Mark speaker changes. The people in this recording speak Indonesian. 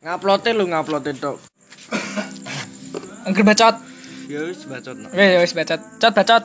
Speaker 1: Nguploadnya lu nguploadnya tok.
Speaker 2: Angger bacot.
Speaker 1: Ya wis bacot.
Speaker 2: Wis wis bacot. Cot bacot.